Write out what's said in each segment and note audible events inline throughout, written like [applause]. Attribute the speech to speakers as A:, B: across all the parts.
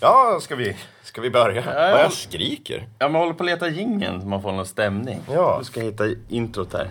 A: Ja, ska vi, ska vi börja?
B: Ja,
A: Vad
B: ja.
A: jag skriker.
B: Ja, men håller på att leta jingeln så man får någon stämning.
A: Ja.
B: Du ska hitta introt här.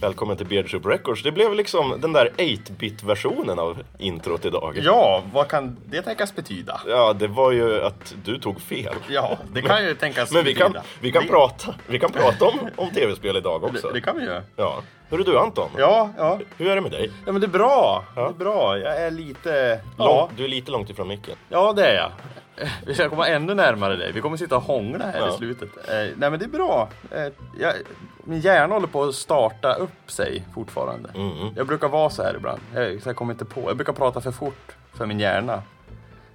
A: Välkommen till Beardship Records. Det blev liksom den där 8-bit-versionen av introt idag.
B: Ja, vad kan det tänkas betyda?
A: Ja, det var ju att du tog fel.
B: Ja, det kan ju tänkas
A: Men vi
B: betyda.
A: kan, vi kan,
B: det,
A: prata, vi kan prata om, om tv-spel idag också.
B: Det, det kan vi ju.
A: Ja. Hur är du Anton?
B: Ja, ja.
A: Hur är det med dig?
B: Ja, men det är bra. Det är bra. Jag är lite... Ja,
A: Lång, du är lite långt ifrån micken.
B: ja det är jag. [laughs] Vi ska komma ännu närmare dig. Vi kommer sitta och hångla här
A: Ja.
B: i slutet. Eh, nej, men det är bra. Eh, jag, min hjärna håller på att starta upp sig fortfarande.
A: Mm.
B: Jag brukar vara så här ibland. Jag, så jag kommer inte på. Jag brukar prata för fort för min hjärna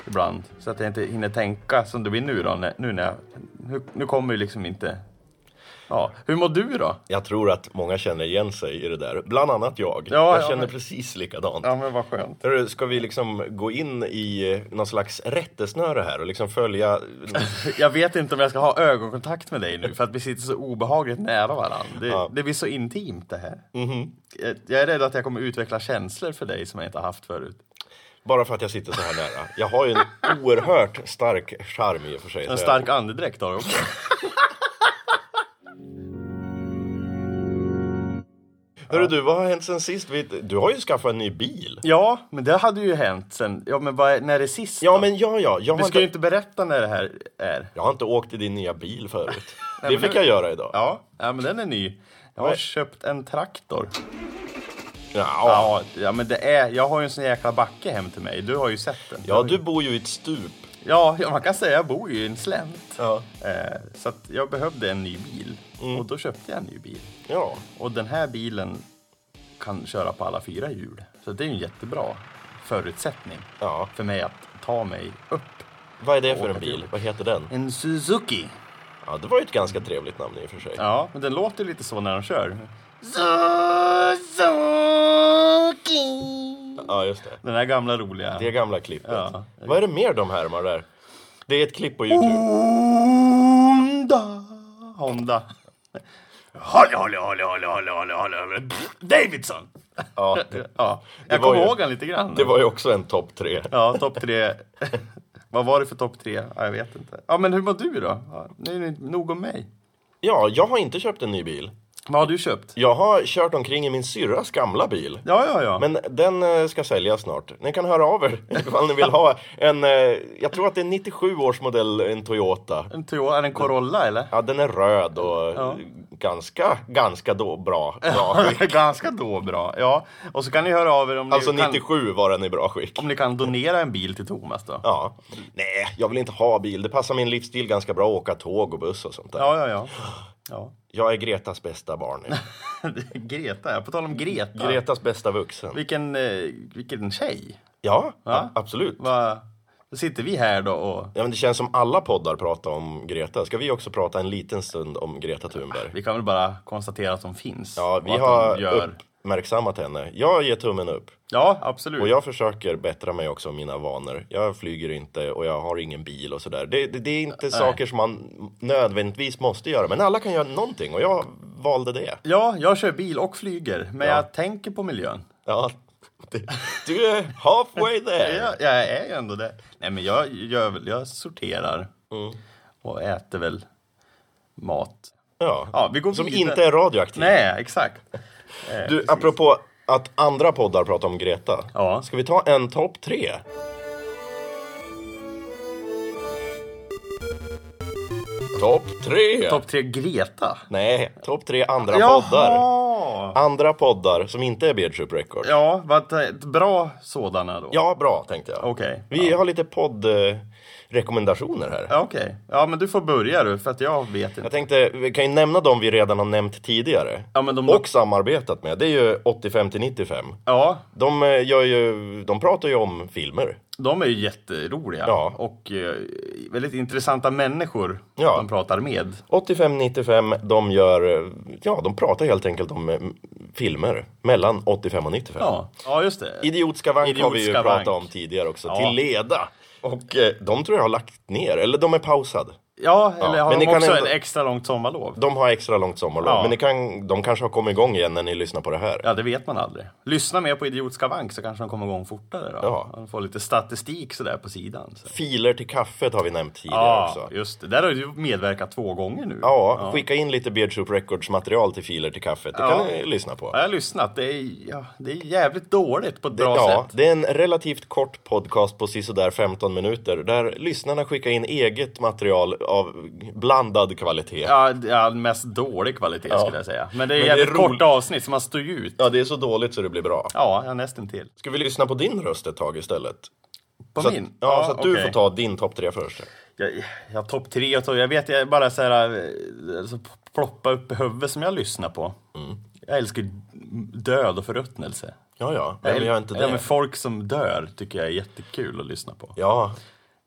B: ibland. Så att jag inte hinner tänka som det blir nu då. när- Nu, när jag, nu, nu kommer ju liksom inte... Ja. Hur mår du då?
A: Jag tror att många känner igen sig i det där. Bland annat jag.
B: Ja,
A: jag
B: ja,
A: känner
B: men-
A: precis likadant.
B: Ja men vad skönt.
A: Hörru, Ska vi liksom gå in i eh, någon slags rättesnöre här och liksom följa...
B: Jag vet inte om jag ska ha ögonkontakt med dig nu för att vi sitter så obehagligt nära varandra. Det,
A: Ja.
B: det blir så intimt det här. Jag- Jag är rädd att jag kommer utveckla känslor för dig som jag inte har haft förut.
A: Bara för att jag sitter så här nära. Jag har ju en oerhört stark charm i och för sig.
B: En
A: så
B: stark andedräkt har du också.
A: Jag... Hörru du, vad har hänt sen sist? Vi- Du har ju skaffat en ny bil.
B: [laughs] Ja, men det hade ju hänt sen. Ja, men vad, är- när är det sist?
A: Ja,
B: då?
A: men ja, ja. Jag
B: Vi
A: har,
B: ska ju
A: inte...
B: inte berätta när det här är.
A: jag har inte åkt i din nya bil
B: [laughs]
A: förut. Det
B: men
A: fick
B: nu-
A: jag göra idag.
B: Ja, ja men den är ny. Jag har
A: Nej.
B: köpt en traktor.
A: Ja.
B: Ja, ja, men det är, jag har ju en sån jäkla backe hem till mig. Du har ju sett den.
A: ja, du bor ju i ett stup.
B: Ja, ja, man kan säga jag bor ju i en slänt.
A: Ja.
B: Eh, så att jag behövde en ny bil och då köpte jag en ny bil.
A: ja.
B: Och den här bilen kan köra på alla fyra hjul. Så det är ju en jättebra förutsättning
A: Ja.
B: för mig att ta mig upp.
A: Vad är det för en bil? Vad heter den?
B: En Suzuki.
A: Ja, det var ju ett ganska trevligt namn i och för sig.
B: Ja, men den låter lite så när de kör. Suzuki.
A: Ja, just det.
B: Den här gamla roliga.
A: Det gamla klippet.
B: Ja. Oh!
A: Vad är det mer de härmar där? Det är ett klipp på Youtube.
B: Honda. Honda. Holly, Holly, Holly, Holly, Holly, Holly, Holly, Holly. Davidson.
A: Ja,
B: Ja, jag
A: var
B: kommer
A: ju-
B: ihåg han lite grann.
A: det var ju också en topp tre.
B: Ja, topp tre. [laughs] Vad var det för topp tre? Ja, jag vet inte. Ja, men hur mår du då? Ja, nu är det nog om mig.
A: Ja, jag har inte köpt en ny bil.
B: Vad har du köpt?
A: Jag har kört omkring i min syrras gamla bil.
B: Ja, ja, ja.
A: Men den eh, ska säljas snart. Ni kan höra av er [laughs] ifall ni vill ha en, eh, jag tror att det är 97 års modell, en Toyota.
B: En Toyota, är det en Corolla [laughs] eller?
A: Ja, den är röd och eh, ganska, ganska då
B: [laughs]
A: bra. bra.
B: Ganska då bra. Ja, och så kan ni höra av er om,
A: Alltså
B: ni, kan,
A: 97 var den i bra skick.
B: om ni kan donera en bil till Thomas då. Ja,
A: Ja. Nej, jag vill inte ha bil. Det passar min livsstil ganska bra att åka tåg och buss och sånt där.
B: ja, ja. ja. [laughs]
A: Jag är Gretas bästa barn nu.
B: Greta, [laughs] ja. På tal om Greta.
A: Gretas bästa vuxen.
B: Vilken, eh, vilken tjej.
A: Ja, a- absolut.
B: Va? Då sitter vi här då och
A: Ja, men det känns som alla poddar pratar om Greta. Ska vi också prata en liten stund om Greta Thunberg?
B: Ah, vi kan väl bara konstatera att de finns.
A: Ja,
B: och
A: vi
B: att
A: har
B: de gör.
A: uppmärksammat henne. Jag ger tummen upp.
B: Ja, absolut.
A: Och jag försöker bättra mig också om mina vanor. Jag flyger inte och jag har ingen bil och sådär. Det, det, det är inte saker som man nödvändigtvis måste göra, men alla kan göra någonting och jag valde det.
B: Ja, jag kör bil och flyger, men
A: Ja.
B: jag tänker på miljön.
A: Ja, det, du är halfway there!
B: Jag, jag är ju ändå det. Nej, men jag, gör väl, jag sorterar
A: Mm.
B: och äter väl mat.
A: Ja.
B: Ja, vi går
A: Som
B: vidare.
A: inte är radioaktiv.
B: Nej, exakt.
A: Du, apropå att andra poddar pratar om Greta.
B: Ja.
A: Ska vi ta en topp tre? Topp tre!
B: Topp tre Greta.
A: Nej, topp tre andra poddar.
B: Jaha!
A: Andra poddar som inte är Beardship Record. Ja.
B: Ja, vad bra sådana då.
A: bra tänkte jag.
B: Okej.
A: Vi har lite poddrekommendationer här.
B: Ja, Okej. Ja, men du får börja du, för att jag vet inte.
A: Jag tänkte, vi kan ju nämna de vi redan har nämnt tidigare.
B: Ja, men de-
A: Och samarbetat med. Det är ju 85 till 95.
B: Ja,
A: De, eh, gör ju, de pratar ju om filmer.
B: De är ju jätteroliga
A: Ja.
B: och eh, väldigt intressanta människor
A: Ja.
B: de pratar med.
A: 85-95, de gör, eh, ja de pratar helt enkelt om eh, filmer mellan 85 och 95.
B: Ja, ja just det.
A: Idiotska vank har vi ju
B: Idiotska vank.
A: pratat om tidigare också,
B: Ja.
A: till leda. Och eh, de tror jag har lagt ner, eller de är pausade.
B: Ja, eller
A: Ja,
B: har
A: men
B: de
A: ni kan
B: också
A: ändå-
B: ett extra långt sommarlov?
A: De har extra långt sommarlov,
B: Ja.
A: men ni kan, de kanske har kommit igång igen när ni lyssnar på det här.
B: Ja, det vet man aldrig. Lyssna mer på Idiotska vank så kanske de kommer igång fortare. Då.
A: Ja.
B: Man får lite statistik sådär på sidan. Så.
A: Filer till kaffet har vi nämnt tidigare
B: Ja,
A: också.
B: just det. Där har du medverkat två gånger nu.
A: Ja, skicka in lite Beard Soup Records material till Filer till kaffet, det
B: Ja.
A: kan ni lyssna på.
B: Ja, Jag har lyssnat. Det är, ja, det är jävligt dåligt på ett bra
A: Ja,
B: sätt.
A: det är en relativt kort podcast på sisådär 15 minuter där lyssnarna skickar in eget material av blandad kvalitet. Ja.
B: Ja, det är mest dålig kvalitet skulle jag säga. Men det är
A: Men det är
B: jävligt
A: roligt.
B: korta avsnitt så man står ju ut.
A: det är så dåligt så det blir bra.
B: Ja, ja nästintill.
A: Ska vi lyssna på din röst ett tag istället?
B: På
A: så
B: min?
A: Att, ja, så att du
B: okej.
A: får ta din topp tre först.
B: Jag, jag topp tre och topp, jag vet, jag är bara så här, eh, alltså, ploppa upp i huvudet som jag lyssnar på.
A: Mm.
B: Jag älskar ju död och förruttnelse.
A: Ja, ja, men vi har inte
B: Ja, men
A: det.
B: folk som dör tycker jag är jättekul att lyssna på.
A: Ja,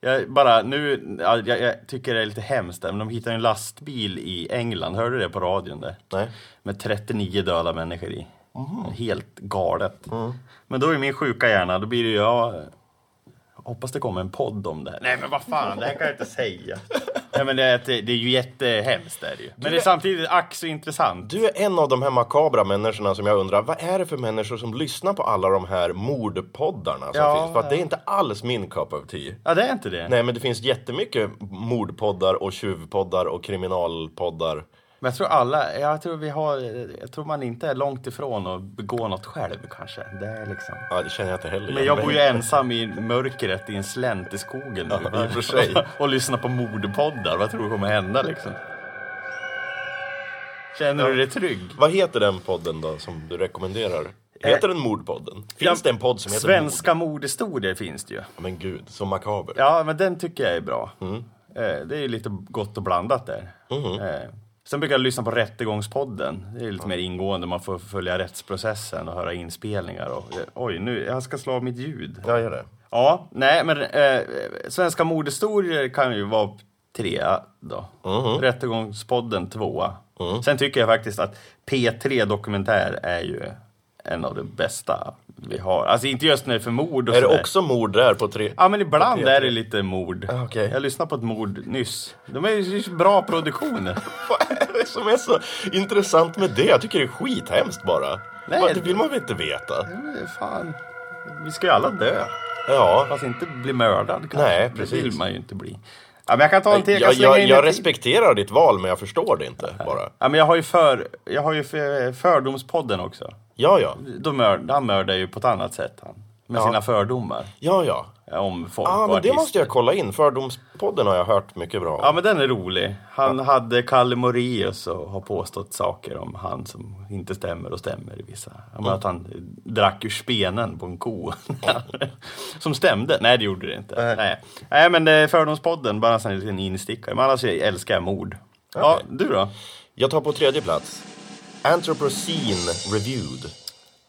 B: Jag bara, nu, ja, jag, jag tycker det är lite hemskt där, men de hittade en lastbil i England, hörde du det på radion där?
A: nej.
B: Med 39 döda människor i. Helt galet. Men då är min sjuka hjärna, då blir det ju, ja, hoppas det kommer en podd om det här. Nej men vad fan, det här kan jag inte säga. Nej men det är, det är ju jättehemskt det är det ju. Men det är samtidigt ack så intressant.
A: Du är en av de här makabra människorna som jag undrar, vad är det för människor som lyssnar på alla de här mordpoddarna som
B: Ja,
A: finns? För att det är inte alls min cup of tea.
B: Ja det är inte det.
A: Nej, men det finns jättemycket mordpoddar och tjuvpoddar och kriminalpoddar.
B: Men jag tror alla, jag tror vi har, jag tror man inte är långt ifrån att begå något själv kanske. Det är liksom.
A: Ja, det känner jag inte heller
B: Men jag bor ju ensam i mörkret i en slänt i skogen nu.
A: Ja, i och för sig.
B: och lyssnar på mordpoddar. Vad tror du kommer hända liksom? Känner du dig trygg?
A: Vad heter den podden då som du rekommenderar?
B: Eh,
A: Heter den Mordpodden? Finns
B: Ja,
A: det en podd som heter Mord?
B: Svenska mordhistorier finns det ju.
A: Ja, Men gud, så makaber.
B: Ja, men den tycker jag är bra.
A: Mm.
B: Eh, Det är ju lite gott och blandat där. Eh, Sen brukar jag lyssna på Rättegångspodden. Det är lite mer ingående. Man får följa rättsprocessen och höra inspelningar. Och, eh, oj, nu, jag ska slå av mitt ljud.
A: Ja, gör det.
B: Ja, nej men eh, Svenska mordhistorier kan ju vara trea då.
A: Mhm.
B: Rättegångspodden tvåa. Sen tycker jag faktiskt att P3 Dokumentär är ju en av de bästa vi har. Alltså inte just när det är för mord och
A: Är det
B: sådär.
A: också mord där på tre?
B: Ja men
A: På
B: ibland
A: P3?
B: är det lite mord.
A: Ah, okej.
B: Jag lyssnade på ett mord nyss. De är ju så bra produktioner.
A: [laughs] Vad är det som är så intressant med det? Jag tycker det är skithemskt bara.
B: Nej,
A: Vad- det vill man väl inte veta?
B: Men Fan. Vi ska ju alla dö.
A: Ja.
B: Fast inte bli mördad kanske.
A: Nej,
B: Det vill
A: precis.
B: man ju inte bli. Ja, men jag kan ta en till.
A: Jag,
B: slänga
A: jag,
B: in
A: jag
B: ett-
A: respekterar ditt val, men jag förstår det inte bara.
B: Ja, men jag har ju, för, jag har ju för, Fördomspodden också.
A: Ja, ja.
B: Då mör, han mördar ju på ett annat sätt han. Med
A: Ja.
B: sina fördomar eh,
A: Ja, ja.
B: om folk
A: Ah,
B: och
A: men det
B: artister.
A: måste jag kolla in. Fördomspodden har jag hört mycket bra om.
B: Ja men den är rolig. Han hade Kalle Moraeus och har påstått saker om han som inte stämmer och stämmer i vissa. Ja,
A: Mm.
B: men Att han drack ur spenen på en ko. [laughs] som stämde. Nej det gjorde det inte. Nej, Nej. men eh, Fördomspodden, bara en sån här liten instickare. Men annars älskar jag mord. Ja,
A: Okej.
B: du då?
A: Jag tar på tredje plats. Anthropocene Reviewed.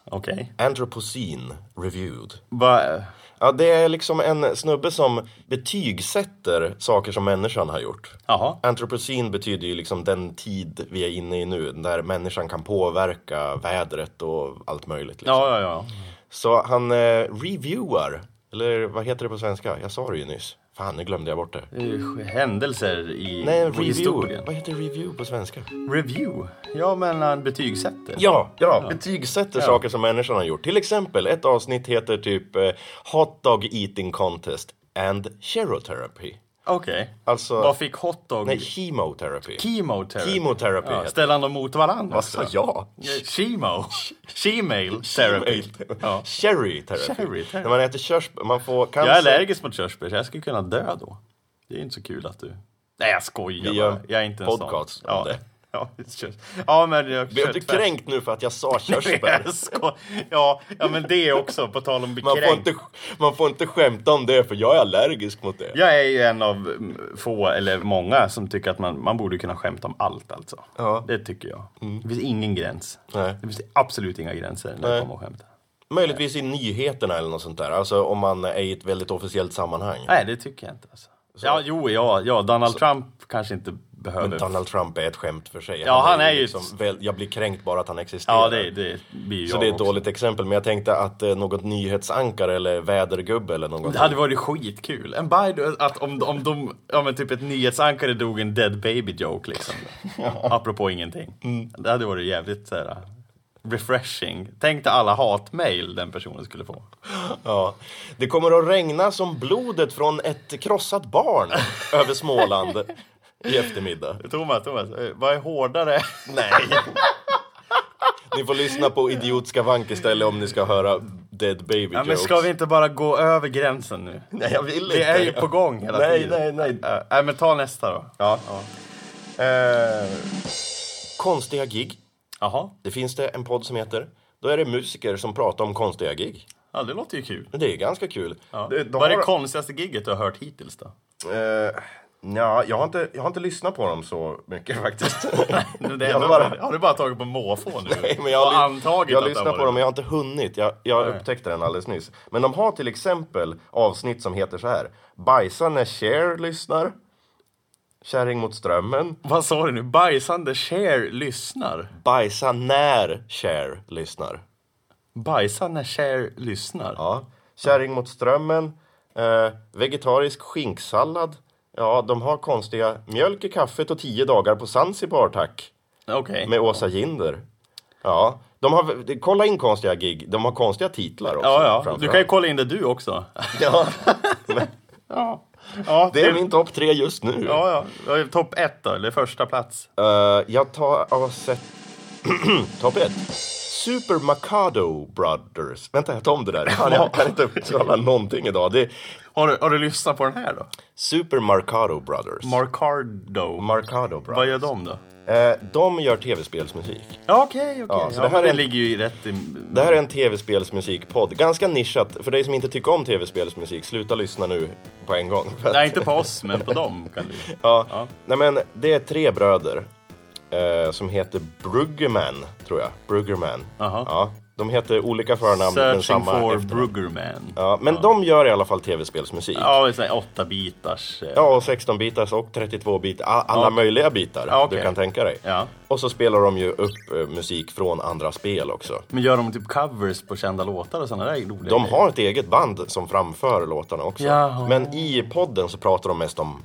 B: Okej.
A: Anthropocene Reviewed.
B: Va-
A: Ja, det är liksom en snubbe som betygsätter saker som människan har gjort.
B: Jaha.
A: Antropocen betyder ju liksom den tid vi är inne i nu, där människan kan påverka vädret och allt möjligt. Liksom.
B: Ja, ja, ja.
A: Så han eh, reviewar, eller vad heter det på svenska? Jag sa det ju nyss. Fan, nu glömde jag bort det.
B: Eh, Händelser i
A: Nej,
B: på
A: review.
B: historien.
A: Vad heter review på svenska?
B: Review? Ja, men han betygsätter.
A: Ja, ja. betygsätter saker som människan har gjort. Till exempel, ett avsnitt heter typ eh, Hot Dog Eating Contest and Cherotherapy.
B: Okej.
A: Alltså-
B: Vad fick hotdog?
A: Nej, chemotherapy.
B: Chemotherapy.
A: Chemotherapy
B: Ja,
A: heter
B: ställa dem mot varandra.
A: Vad sa jag?
B: Eh, Chemo.
A: [laughs]
B: Shemale therapy. Ja.
A: Cherry therapy.
B: Cherry therapy.
A: När man äter körsbär, man får cancer.
B: Jag är allergisk mot körsbär, så jag skulle kunna dö då. Det är ju inte så kul att du... Nej, jag skojar
A: Vi gör
B: bara. Jag är inte en
A: podcast
B: sån.
A: om det.
B: [laughs] Ja, det körs- ja, men jag
A: Blev du kränkt nu för att jag
B: [laughs]
A: sa körsbär?
B: Jag sko- ja, ja, men det också, på tal om
A: Man får,
B: bekränkt.
A: inte, man får inte skämta om det för jag är allergisk mot det.
B: Jag är ju en av mm, få, eller många, som tycker att man, man borde kunna skämta om allt alltså.
A: Ja. Mm.
B: Det tycker jag. Det finns ingen gräns.
A: Nej.
B: Det finns absolut inga gränser när det
A: Nej.
B: kommer att skämta.
A: Möjligtvis i nyheterna eller något sånt där. Alltså om man är i ett väldigt officiellt sammanhang.
B: Nej, det tycker jag inte. Alltså. Ja, jo, ja, ja Donald Trump kanske inte behöver...
A: Men Donald Trump är ett skämt för sig.
B: Ja, han är ju-
A: liksom väl, jag blir kränkt bara att han existerar.
B: ja, det, det blir jag
A: Så det är ett
B: också.
A: dåligt exempel. Men jag tänkte att eh, något nyhetsankare eller vädergubbe eller något.
B: Det hade varit skitkul. En Biden, att om, om de, ja men typ ett nyhetsankare drog en dead baby
A: [laughs]
B: joke liksom. Apropå ingenting.
A: Mm.
B: Det hade varit jävligt så här, refreshing. Tänk dig alla hatmejl den personen skulle få.
A: [laughs] Ja. Det kommer att regna som blodet från ett krossat
B: [laughs]
A: barn över Småland i eftermiddag.
B: Thomas, Thomas, eh, vad är hårdare?
A: [laughs]
B: [laughs]
A: Nej. Ni får lyssna på Idiotska vank istället om ni ska höra Dead Baby
B: Ja, men
A: Jokes.
B: ska vi inte bara gå över gränsen nu?
A: Nej, jag vill
B: Det
A: inte.
B: är ju på gång hela
A: Nej,
B: tiden.
A: nej, nej.
B: nej. Nej, men ta nästa då.
A: Ja.
B: Ja.
A: Eh, Konstiga gig.
B: Jaha,
A: Det finns det en podd som heter. Då är det musiker som pratar om konstiga gig.
B: ja, det låter ju kul.
A: Det är ganska kul.
B: Ja.
A: Det- de
B: vad är
A: har-
B: det konstigaste gigget du har hört
A: [laughs]
B: hittills då? [laughs]
A: Eh, nja, jag har, inte, jag har inte lyssnat på dem så mycket [laughs] faktiskt.
B: Det
A: Jag
B: enda-
A: bara-
B: Har du bara tagit på måfå nu?
A: [laughs] Nej, men jag har,
B: och
A: ly-
B: antagit
A: jag
B: att det
A: lyssnar
B: har
A: på
B: varit-
A: dem, men jag har inte hunnit. Jag, jag upptäckte den alldeles nyss. Men de har till exempel avsnitt som heter så här. Bajsa när Cher lyssnar. Kärring mot strömmen.
B: Vad sa du nu? Bajsande Cher lyssnar?
A: Bajsa när Cher lyssnar.
B: Bajsa när Cher lyssnar?
A: Ja. Kärring mot strömmen. Eh, vegetarisk skinksallad. Ja, de har konstiga mjölk i kaffet och tio dagar på Zanzibar tack.
B: Okej.
A: Med Åsa Ginder. Ja. De har, kolla in konstiga gig. De har konstiga titlar också.
B: Ja, ja. Du
A: framförallt.
B: kan ju kolla in det du också.
A: [laughs] Ja,
B: Ja. [laughs] ja
A: det är min topp tre just nu.
B: Ja, ja. Topp ett då, eller första plats.
A: Eh, jag tar avsett... [clears throat] topp ett. Super Mikado Brothers. Vänta, jag tar om det där. Fan, jag kan inte uppskala någonting idag. Det är
B: Har du, har du lyssnat på den här då?
A: Super Mercado Brothers.
B: Marcardo.
A: Mercado
B: Vad
A: Brothers.
B: gör de då?
A: Eh, de gör tv-spelsmusik.
B: Ja, okej, okej.
A: Ja, så
B: Ja,
A: det här
B: men det
A: är-
B: ligger ju i rätt i...
A: Det här är en tv-spelsmusikpodd. Ganska nischat. För dig som inte tycker om tv-spelsmusik, sluta lyssna nu på en gång. För att-
B: Nej, inte på oss, men på dem kan [laughs] du.
A: Ja.
B: Ja.
A: Nej men det är tre bröder eh, som heter Bruggerman, tror jag. Bruggerman.
B: Aha.
A: Ja, de heter olika förnamn men
B: Searching
A: samma
B: for
A: efternamn.
B: Bruggerman. Ja,
A: Ja, men de gör i alla fall tv-spelsmusik. Ja.
B: ja det är åtta bitars. Ja.
A: och 16-bitars och 32-bitars, alla
B: Ja.
A: möjliga bitar
B: Ja, okej.
A: du kan tänka dig.
B: ja.
A: Och så spelar de ju upp eh, musik från andra spel också.
B: Men gör de typ covers på kända låtar och sådana där roliga
A: De
B: grejer?
A: har ett eget band som framför låtarna också.
B: Jaha.
A: Men i podden så pratar de mest om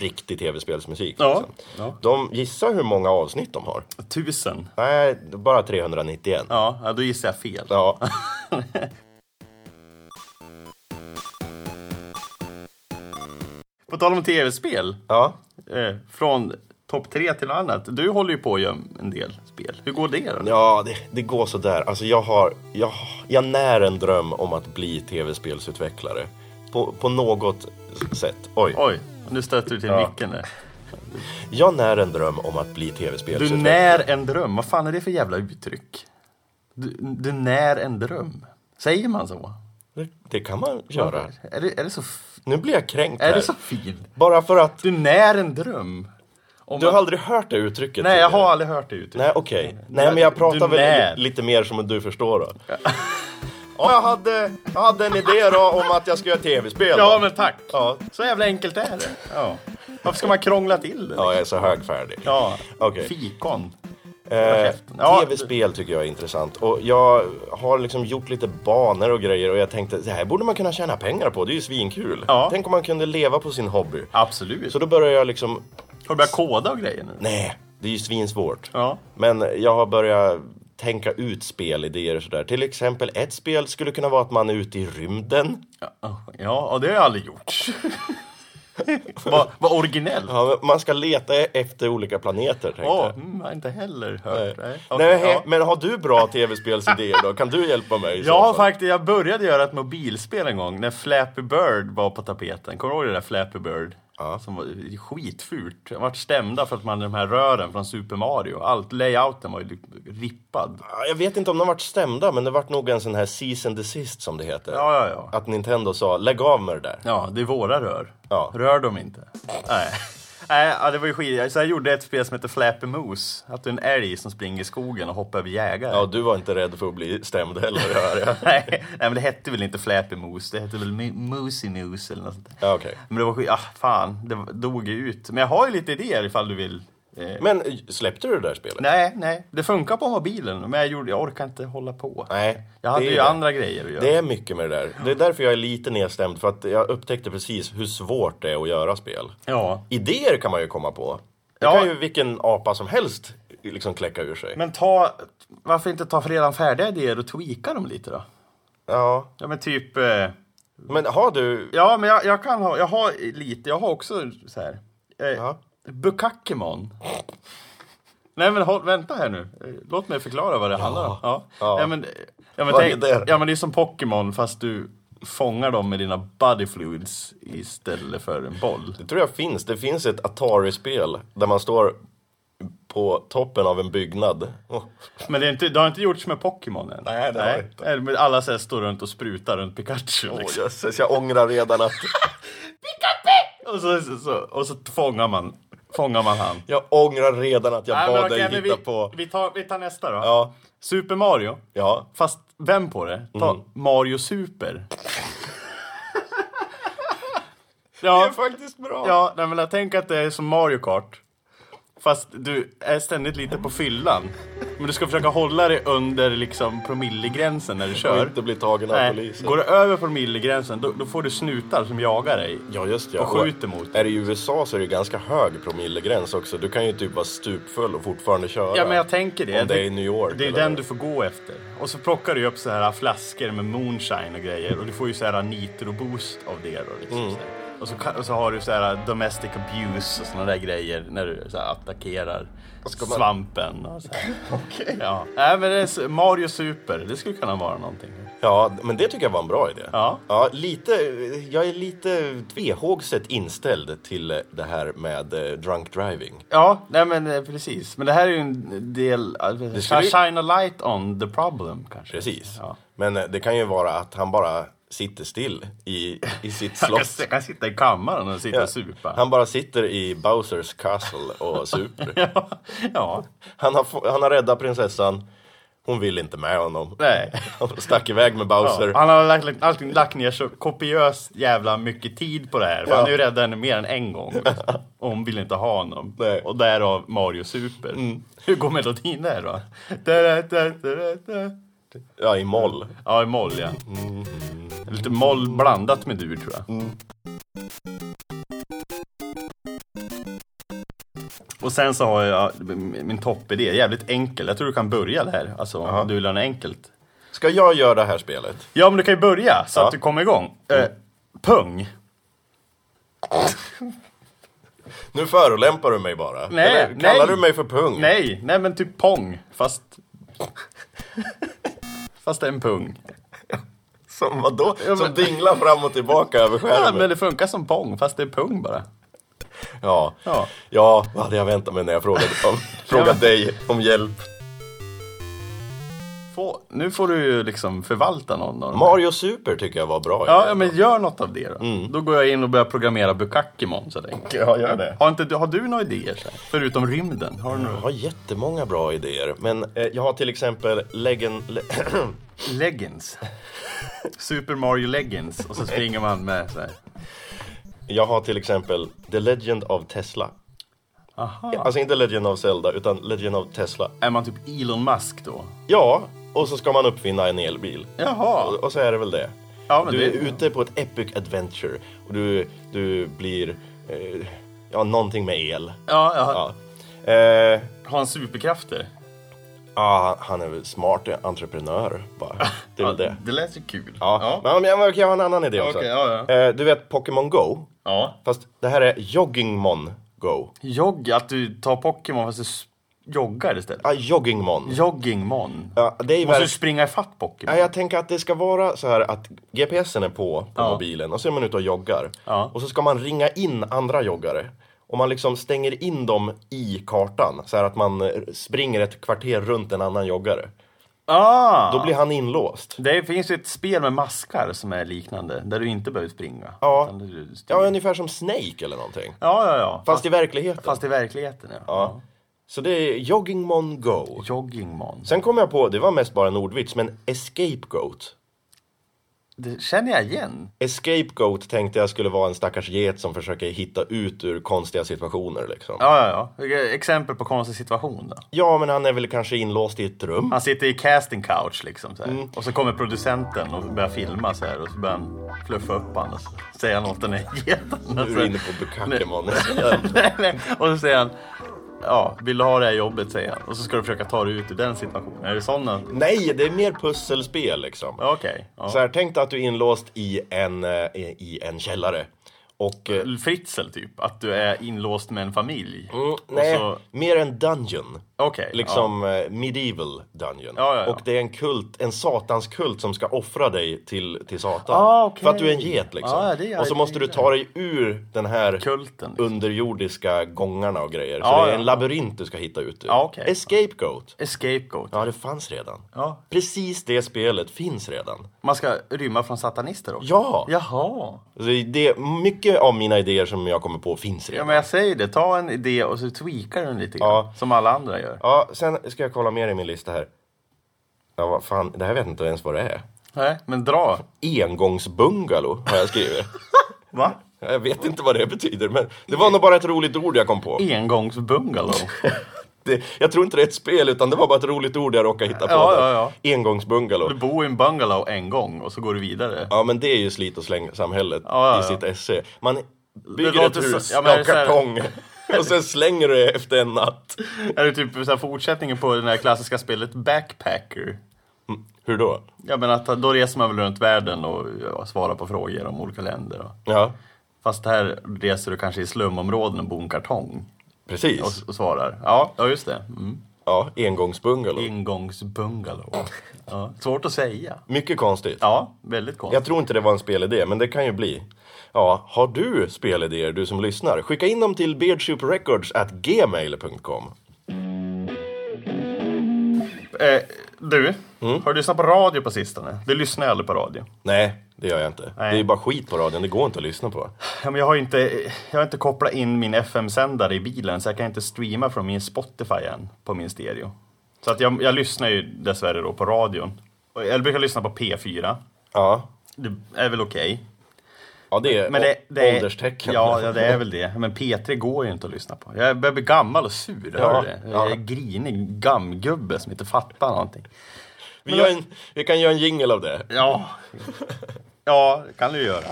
A: riktig tv-spelsmusik.
B: Ja.
A: liksom.
B: ja.
A: De gissar hur många avsnitt de har.
B: Tusen.
A: Nej, bara 391. Ja.
B: Ja, ja, då gissar jag fel. På tal om tv-spel,
A: Ja.
B: eh, från topp tre till något annat. Du håller ju på att göra en del spel. Hur går det då?
A: Ja, det, det går sådär. Alltså jag har, jag, jag när en dröm om att bli tv-spelsutvecklare. På, på något sätt. Oj.
B: Oj, nu stöter du till micken där.
A: Jag när en dröm om att bli
B: Du
A: tv-spelsutvecklare.
B: när en dröm, vad fan är det för jävla uttryck? Du, du när en dröm, säger man så?
A: Det, det kan man göra.
B: Är det, är det så, f-
A: Nu blir jag kränkt
B: är
A: här.
B: det så fint?
A: Bara för att
B: Du när en dröm? Om
A: du har
B: att,
A: aldrig hört det uttrycket?
B: nej, jag
A: tidigare.
B: har aldrig hört det uttrycket.
A: Nej, okej. Nej, men jag pratar
B: du när.
A: väl li- lite mer som du förstår då. Ja, jag hade, jag hade en idé då om att jag ska göra tv-spel. då.
B: Ja, men tack.
A: Ja.
B: Så jävla enkelt är det. Ja. Varför ska man krångla till det?
A: ja, jag är så högfärdig.
B: Ja.
A: Okej.
B: Fikon.
A: Eh,
B: käften. Ja.
A: Tv-spel tycker jag är intressant och jag har liksom gjort lite banor och grejer och jag tänkte det här borde man kunna tjäna pengar på, det är ju svinkul.
B: Ja.
A: Tänk om man kunde leva på sin hobby.
B: Absolut.
A: Så då började jag liksom,
B: Har du börjat koda och grejer nu?
A: nej, det är ju svinsvårt.
B: Ja.
A: Men jag har börjat tänka ut spelidéer och sådär. Till exempel ett spel skulle kunna vara att man är ute i rymden.
B: Ja, ja det har jag aldrig gjort. [laughs] Vad vad originellt.
A: Ja, men Man ska leta efter olika planeter tänkte
B: Åh,
A: jag.
B: mm, jag har inte heller hört. Nej. Okej,
A: Nej, he-
B: ja.
A: Men har du bra tv-spelsidéer då? Kan du hjälpa mig? i så
B: Jag har
A: fall?
B: faktiskt, jag började göra ett mobilspel en gång när Flappy Bird var på tapeten. Kommer du ihåg det där Flappy Bird?
A: Ja.
B: Som var skitfult. De vart stämda för att man hade de här rören från Super Mario. Allt, layouten var ju liksom rippad.
A: Ja, Jag vet inte om de vart stämda, men det vart nog en sån här cease and desist som det heter.
B: Ja, ja, ja.
A: Att Nintendo sa lägg av med det där.
B: Ja, det är våra rör.
A: Ja.
B: Rör dem inte. Nej. Nej, ja, det var ju skit. Så jag gjorde ett spel som heter Flappy Moose. Att du är en älg som springer i skogen och hoppar över jägare.
A: Ja, du var inte rädd för att bli stämd heller, hör jag.
B: [laughs] Nej, nej, men det hette väl inte Flappy Moose, det hette väl Mo- Moosey Moose eller något sånt där.
A: Ja, okej.
B: Men det var skit, ah, fan, det var- dog ju ut. Men jag har ju lite idéer ifall du vill. Eh,
A: Men eh, släppte du det där spelet?
B: nej, nej, det funkar på mobilen, men jag, gjorde, jag orkar inte hålla på.
A: Nej,
B: Jag hade
A: det är
B: ju
A: det.
B: andra grejer att göra.
A: Det är mycket med det där. Det är därför jag är lite nedstämd, för att jag upptäckte precis hur svårt det är att göra spel.
B: Ja.
A: Idéer kan man ju komma på. Det
B: Ja.
A: kan ju vilken apa som helst liksom kläcka ur sig.
B: Men ta, varför inte ta för redan färdiga idéer och tweaka dem lite då?
A: Ja.
B: Ja men typ, eh,
A: Men har du...
B: ja men jag, jag kan ha, jag har lite, jag har också så här. Eh,
A: Ja.
B: Bukakemon. Nej men håll, vänta här nu, Eh, låt mig förklara vad det handlar om. Ja.
A: Ja.
B: Ja. men, ja, men
A: Vad
B: tänk,
A: är det?
B: ja men det är som Pokémon fast du fångar dem med dina body fluids istället för en boll.
A: Det tror jag finns. Det finns ett Atari-spel där man står på toppen av en byggnad. Oh.
B: Men det, är inte, det har inte gjorts med Pokémon än.
A: Nej, det har det inte.
B: Nej, men Alla så här står runt och sprutar runt Pikachu. liksom.
A: jösses, jag ångrar redan att...
B: Och så, så, så, och så fångar man, fångar man han.
A: Jag ångrar redan att jag
B: Nej,
A: bad
B: men okej,
A: dig
B: men
A: hitta
B: vi,
A: på...
B: Vi tar, vi tar nästa då.
A: Ja,
B: Super Mario.
A: ja.
B: Fast vem på det? Ta
A: Mm. [laughs]
B: Mario Super.
A: Det
B: ja,
A: är faktiskt bra.
B: ja nej, men jag tänker att det är som Mario Kart. Fast du är ständigt lite på fyllan. Men du ska försöka hålla dig under liksom promillegränsen när du
A: Och
B: kör.
A: inte bli tagen av
B: Nej,
A: polisen.
B: går du över promillegränsen då, då får du snutar som jagar dig.
A: Ja just ja.
B: Och skjuter mot.
A: Är det i USA så är det ganska hög promillegräns också. Du kan ju typ vara stupfull och fortfarande köra.
B: Ja men jag tänker det.
A: Om det är i New York.
B: Det är
A: eller-
B: den du får gå efter. Och så plockar du ju upp så här flaskor med moonshine och grejer och du får ju så här nitroboost av det då. Liksom,
A: Mm.
B: så här. Och, så, kan- och så har du så här domestic abuse och såna där grejer när du så här attackerar
A: ska man-
B: svampen och så
A: [laughs]
B: här. Ja. Nej men det är så- Mario Super, det skulle kunna vara någonting.
A: Ja, men det tycker jag var en bra idé.
B: Ja.
A: lite, jag är lite tvehågset inställd till det här med eh, drunk driving.
B: Ja, nej men eh, precis. Men det här är ju en del... Det
A: skulle ju-
B: Shine a light on the problem kanske.
A: Precis.
B: Ja.
A: Men eh, det kan ju vara att han bara sitter still i, i sitt
B: [laughs] Jag
A: slott.
B: kan, jag kan sitta i kammaren och sitta
A: Ja.
B: och supa.
A: Han bara sitter i Bowsers castle och [laughs] super.
B: Ja, ja.
A: Han har, få- han har räddat prinsessan. Hon vill inte med honom.
B: nej.
A: Han stack iväg med Bowser.
B: Ja, han har lagt, lagt, allting lagt ner så kopiöst jävla mycket tid på det här. För
A: Ja.
B: Han är ju rädd henne mer än en gång. liksom. Och hon vill inte ha honom.
A: Nej.
B: Och därav Mario Super. Hur går melodin där då? Da, da, da, da, da.
A: Ja, i moll.
B: Ja, i moll ja. Lite moll blandat med dur tror jag. Och sen så har jag min min toppidé, jävligt enkel. Jag tror du kan börja där. Alltså om du vill ha något enkelt.
A: Ska jag göra det här spelet?
B: Ja, men du kan ju börja så
A: Ja.
B: att du kommer igång. Eh, pung.
A: Nu förolämpar du mig bara.
B: Nej,
A: Eller,
B: nej.
A: kallar du mig för pung?
B: Nej, nej men typ pong. Fast... [laughs] fast det är en pung.
A: Som vadå? Som dinglar fram och tillbaka över
B: Ja,
A: skärmen?
B: men det funkar som pong, fast det är pung bara.
A: Ja.
B: Ja.
A: ja, vad hade jag väntat mig när jag frågade, om,
B: [laughs]
A: frågade dig om hjälp?
B: Få, nu får du ju liksom förvalta någon av dem.
A: Mario Super tycker jag var bra.
B: Ja, ja, men gör något av det då. Då går jag in och börjar programmera Bukakimon så länge.
A: ja, gör det.
B: Har, inte, du- har du några idéer? så här? Förutom rymden? Har du
A: Jag
B: några?
A: har jättemånga bra idéer, men eh, jag har till exempel legend... Le [clears throat]
B: Leggings. Super Mario Leggings. Och så springer man med så här.
A: jag har till exempel The Legend of Tesla.
B: Aha.
A: Alltså inte Legend of Zelda, utan Legend of Tesla.
B: Är man typ Elon Musk då?
A: Ja, och så ska man uppfinna en elbil.
B: Jaha.
A: Och, och så är det väl det.
B: Ja, men
A: du
B: det-
A: är ute på ett epic adventure och du, du blir... Eh, ja, någonting med el.
B: Ja, jag har,
A: Ja. Eh,
B: har han superkrafter?
A: ja, han är väl smart entreprenör bara. Det är väl det.
B: Det lät ju kul.
A: Ja. Men jag, jag har en annan idé också.
B: Okej, ja,
A: Eh, du vet Pokémon Go?
B: ja.
A: Fast det här är Joggingmon Go.
B: Jogg, att du tar Pokémon fast du s- joggar istället.
A: Ja, Ah, Joggingmon.
B: Joggingmon.
A: Ja, det är
B: Måste
A: verkligen-
B: du springa ifatt Pokémon?
A: Ja, jag tänker att det ska vara så här att GPSen är på på mobilen och så är man ute och joggar.
B: Ja.
A: Och så ska man ringa in andra joggare. Och man liksom stänger in dem i kartan. Så här att man eh, springer ett kvarter runt en annan joggare.
B: Ah!
A: Då blir han inlåst.
B: Det finns ju ett spel med maskar som är liknande, där du inte behöver springa.
A: Ja.
B: Utan du styr.
A: Ja, ungefär som Snake eller någonting.
B: ja, ja, ja. Fast,
A: Fast i verkligheten.
B: fast i verkligheten, ja.
A: Ja. Så det är Joggingmon Go.
B: Joggingmon.
A: Sen kom jag på, det var mest bara en ordvits, men Escape Goat.
B: Det känner jag igen.
A: Escape Goat tänkte jag skulle vara en stackars get som försöker hitta ut ur konstiga situationer liksom. Ja,
B: Ja, ja, ja. Vilka Exempel på konstig situation då.
A: men han är väl kanske inlåst i ett rum.
B: Han sitter i casting couch liksom. Så här.
A: Mm.
B: Och så kommer producenten och börjar filma så här. Och så börjar han fluffa upp honom och så säger han åt den här geten.
A: Nu är du inne på
B: [laughs]
A: Bukakemon. Ja.
B: Nej, nej. och så säger han, ja, vill du ha det här jobbet säger han. Och så ska du försöka ta dig ut ur den situationen. Är det sådana?
A: Nej, det är mer pusselspel liksom.
B: Ja, Okej. Ja.
A: Så här, tänk dig att du är inlåst i en, eh, i en källare. Och... eh,
B: Fritzl typ, att du är inlåst med en familj.
A: Mm,
B: Och
A: nej,
B: så-
A: mer en dungeon.
B: Okej. ja.
A: Liksom eh, medieval dungeon.
B: Ja, ja, ja.
A: Och det är en kult, en satanskult som ska offra dig till, till Satan.
B: Ah, okej.
A: För att du är en get liksom.
B: Ah, det är-
A: och så måste du ta dig ur den här
B: Kulten. Liksom.
A: underjordiska gångarna och grejer. Så
B: Ja,
A: det är
B: ja.
A: en labyrint du ska hitta ut ur.
B: Ja, okej.
A: Escape Goat.
B: Escape goat.
A: Ja, det fanns redan.
B: Ja.
A: Precis det spelet finns redan.
B: Man ska rymma från satanister också?
A: Ja!
B: Jaha.
A: Så Det, mycket av mina idéer som jag kommer på finns
B: Ja,
A: redan.
B: men jag säger det. Ta en idé och så tweakar du den lite grann.
A: Ja.
B: Som alla andra gör.
A: Ja, sen ska jag kolla mer i min lista här. Ja, vad fan, det här vet jag inte ens vad det är.
B: Nej, men dra.
A: Engångsbungalow har jag skrivit.
B: Va?
A: jag vet inte vad det betyder, men det var nog bara ett roligt ord jag kom på.
B: Engångsbungalow.
A: Det, jag tror inte det är ett spel, utan det var bara ett roligt ord jag råkade hitta på.
B: Ja,
A: där.
B: ja,
A: Engångsbungalow.
B: Du bor i en bungalow en gång och så går du vidare.
A: Ja, men det är ju slit och släng-samhället
B: Ja, ja,
A: i
B: ja.
A: sitt esse. Man bygger ett
B: låter
A: hus
B: så- ja, men
A: av
B: det är så här-
A: kartong och sen slänger du det efter en natt.
B: Är det typ så här fortsättningen på det här klassiska spelet Backpacker?
A: Mm, Hur då?
B: Ja, men att då reser man väl runt världen och ja, svarar på frågor om olika länder. Och.
A: Ja,
B: Fast här reser du kanske i slumområden och bor i en kartong
A: precis.
B: och, och svarar. Ja, ja just det. Mm.
A: Ja, engångsbungalow.
B: Ingångsbungalow. Ja, svårt att säga.
A: Mycket konstigt.
B: Ja, väldigt konstigt.
A: Jag tror inte det var en spelidé, men det kan ju bli. Ja, har du spelidéer, du som lyssnar? Skicka in dem till beardsouprecords@gmail.com.
B: Eh, du, har du lyssnat på radio på sistone? Du lyssnar ju aldrig på radio.
A: Nej, det gör jag inte.
B: Nej.
A: Det är ju bara skit på radion, det går inte att lyssna på.
B: Ja, men jag, har ju inte, jag har inte kopplat in min FM-sändare i bilen så jag kan inte streama från min Spotify än på min stereo. Så att jag, jag lyssnar ju dessvärre då på radion. Och Jag brukar lyssna på P4.
A: Ja,
B: Det är väl okej.
A: ja det är
B: Men det, det är-
A: ålderstecken.
B: Ja, ja, det är väl det. Men P3 går ju inte att lyssna på. Jag börjar bli gammal och sur,
A: Ja,
B: hör du det? Jag är
A: ja.
B: grinig gammgubbe som inte fattar någonting.
A: vi, gör en, vi kan göra en jingle av det.
B: Ja, ja det kan du ju göra.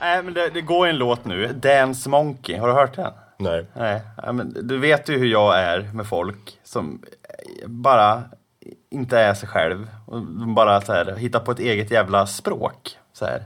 B: Nej, men det, det går en låt nu. Dance Monkey. Har du hört den?
A: Nej.
B: Nej, ja, men du vet ju hur jag är med folk som bara inte är sig själv. Och de bara så här, hittar på ett eget jävla språk. Så här.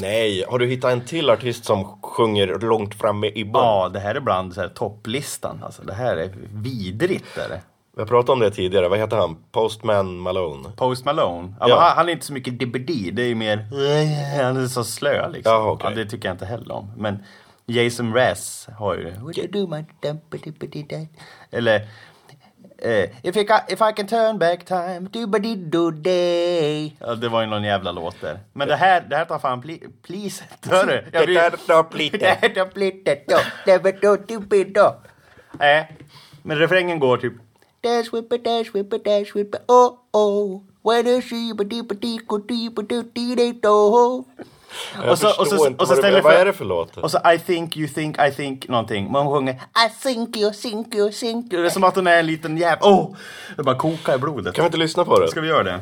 A: Nej, har du hittat en till artist som sjunger långt framme i bön?
B: Ja, det här är bland så här, topplistan. Alltså, det här är vidrigt. Är det?
A: Vi har pratat om det tidigare, vad heter han? Postman Malone?
B: Post Malone. Ja,
A: Ja.
B: men Han, han är inte så mycket DBD, det är ju mer... eh, Han är så slö liksom.
A: Jaha, okej.
B: ja, det tycker jag inte heller om. Men Jason Mraz har ju det. Eller... Eh, if, I ca- if I can turn back time, do day. Ja, det var ju någon jävla låt där. Men det här, det här tar fan pli- [laughs] pliset, hör du? Jag
A: Det
B: blir-
A: där tar plitet.
B: Det här tar plitet, då. Det var då, du blir då. Nej, men refrängen går typ...
C: Dash whipper, dash whipper, dash whipper, oh oh. When a sheep a deep a deep a deep a deep a deep
A: Jag
B: [laughs] Och så- och så-
A: förstår inte
B: och så
A: vad,
B: ställer
A: det, vad
B: för-
A: är det för låt?
B: Och så I think you think I think någonting. Man sjunger
C: I think you, think you, think
B: Det
C: you.
B: är som att hon är en liten jävla... Oh! Det bara kokar i blodet.
A: Kan vi inte lyssna på det?
B: Ska vi göra det?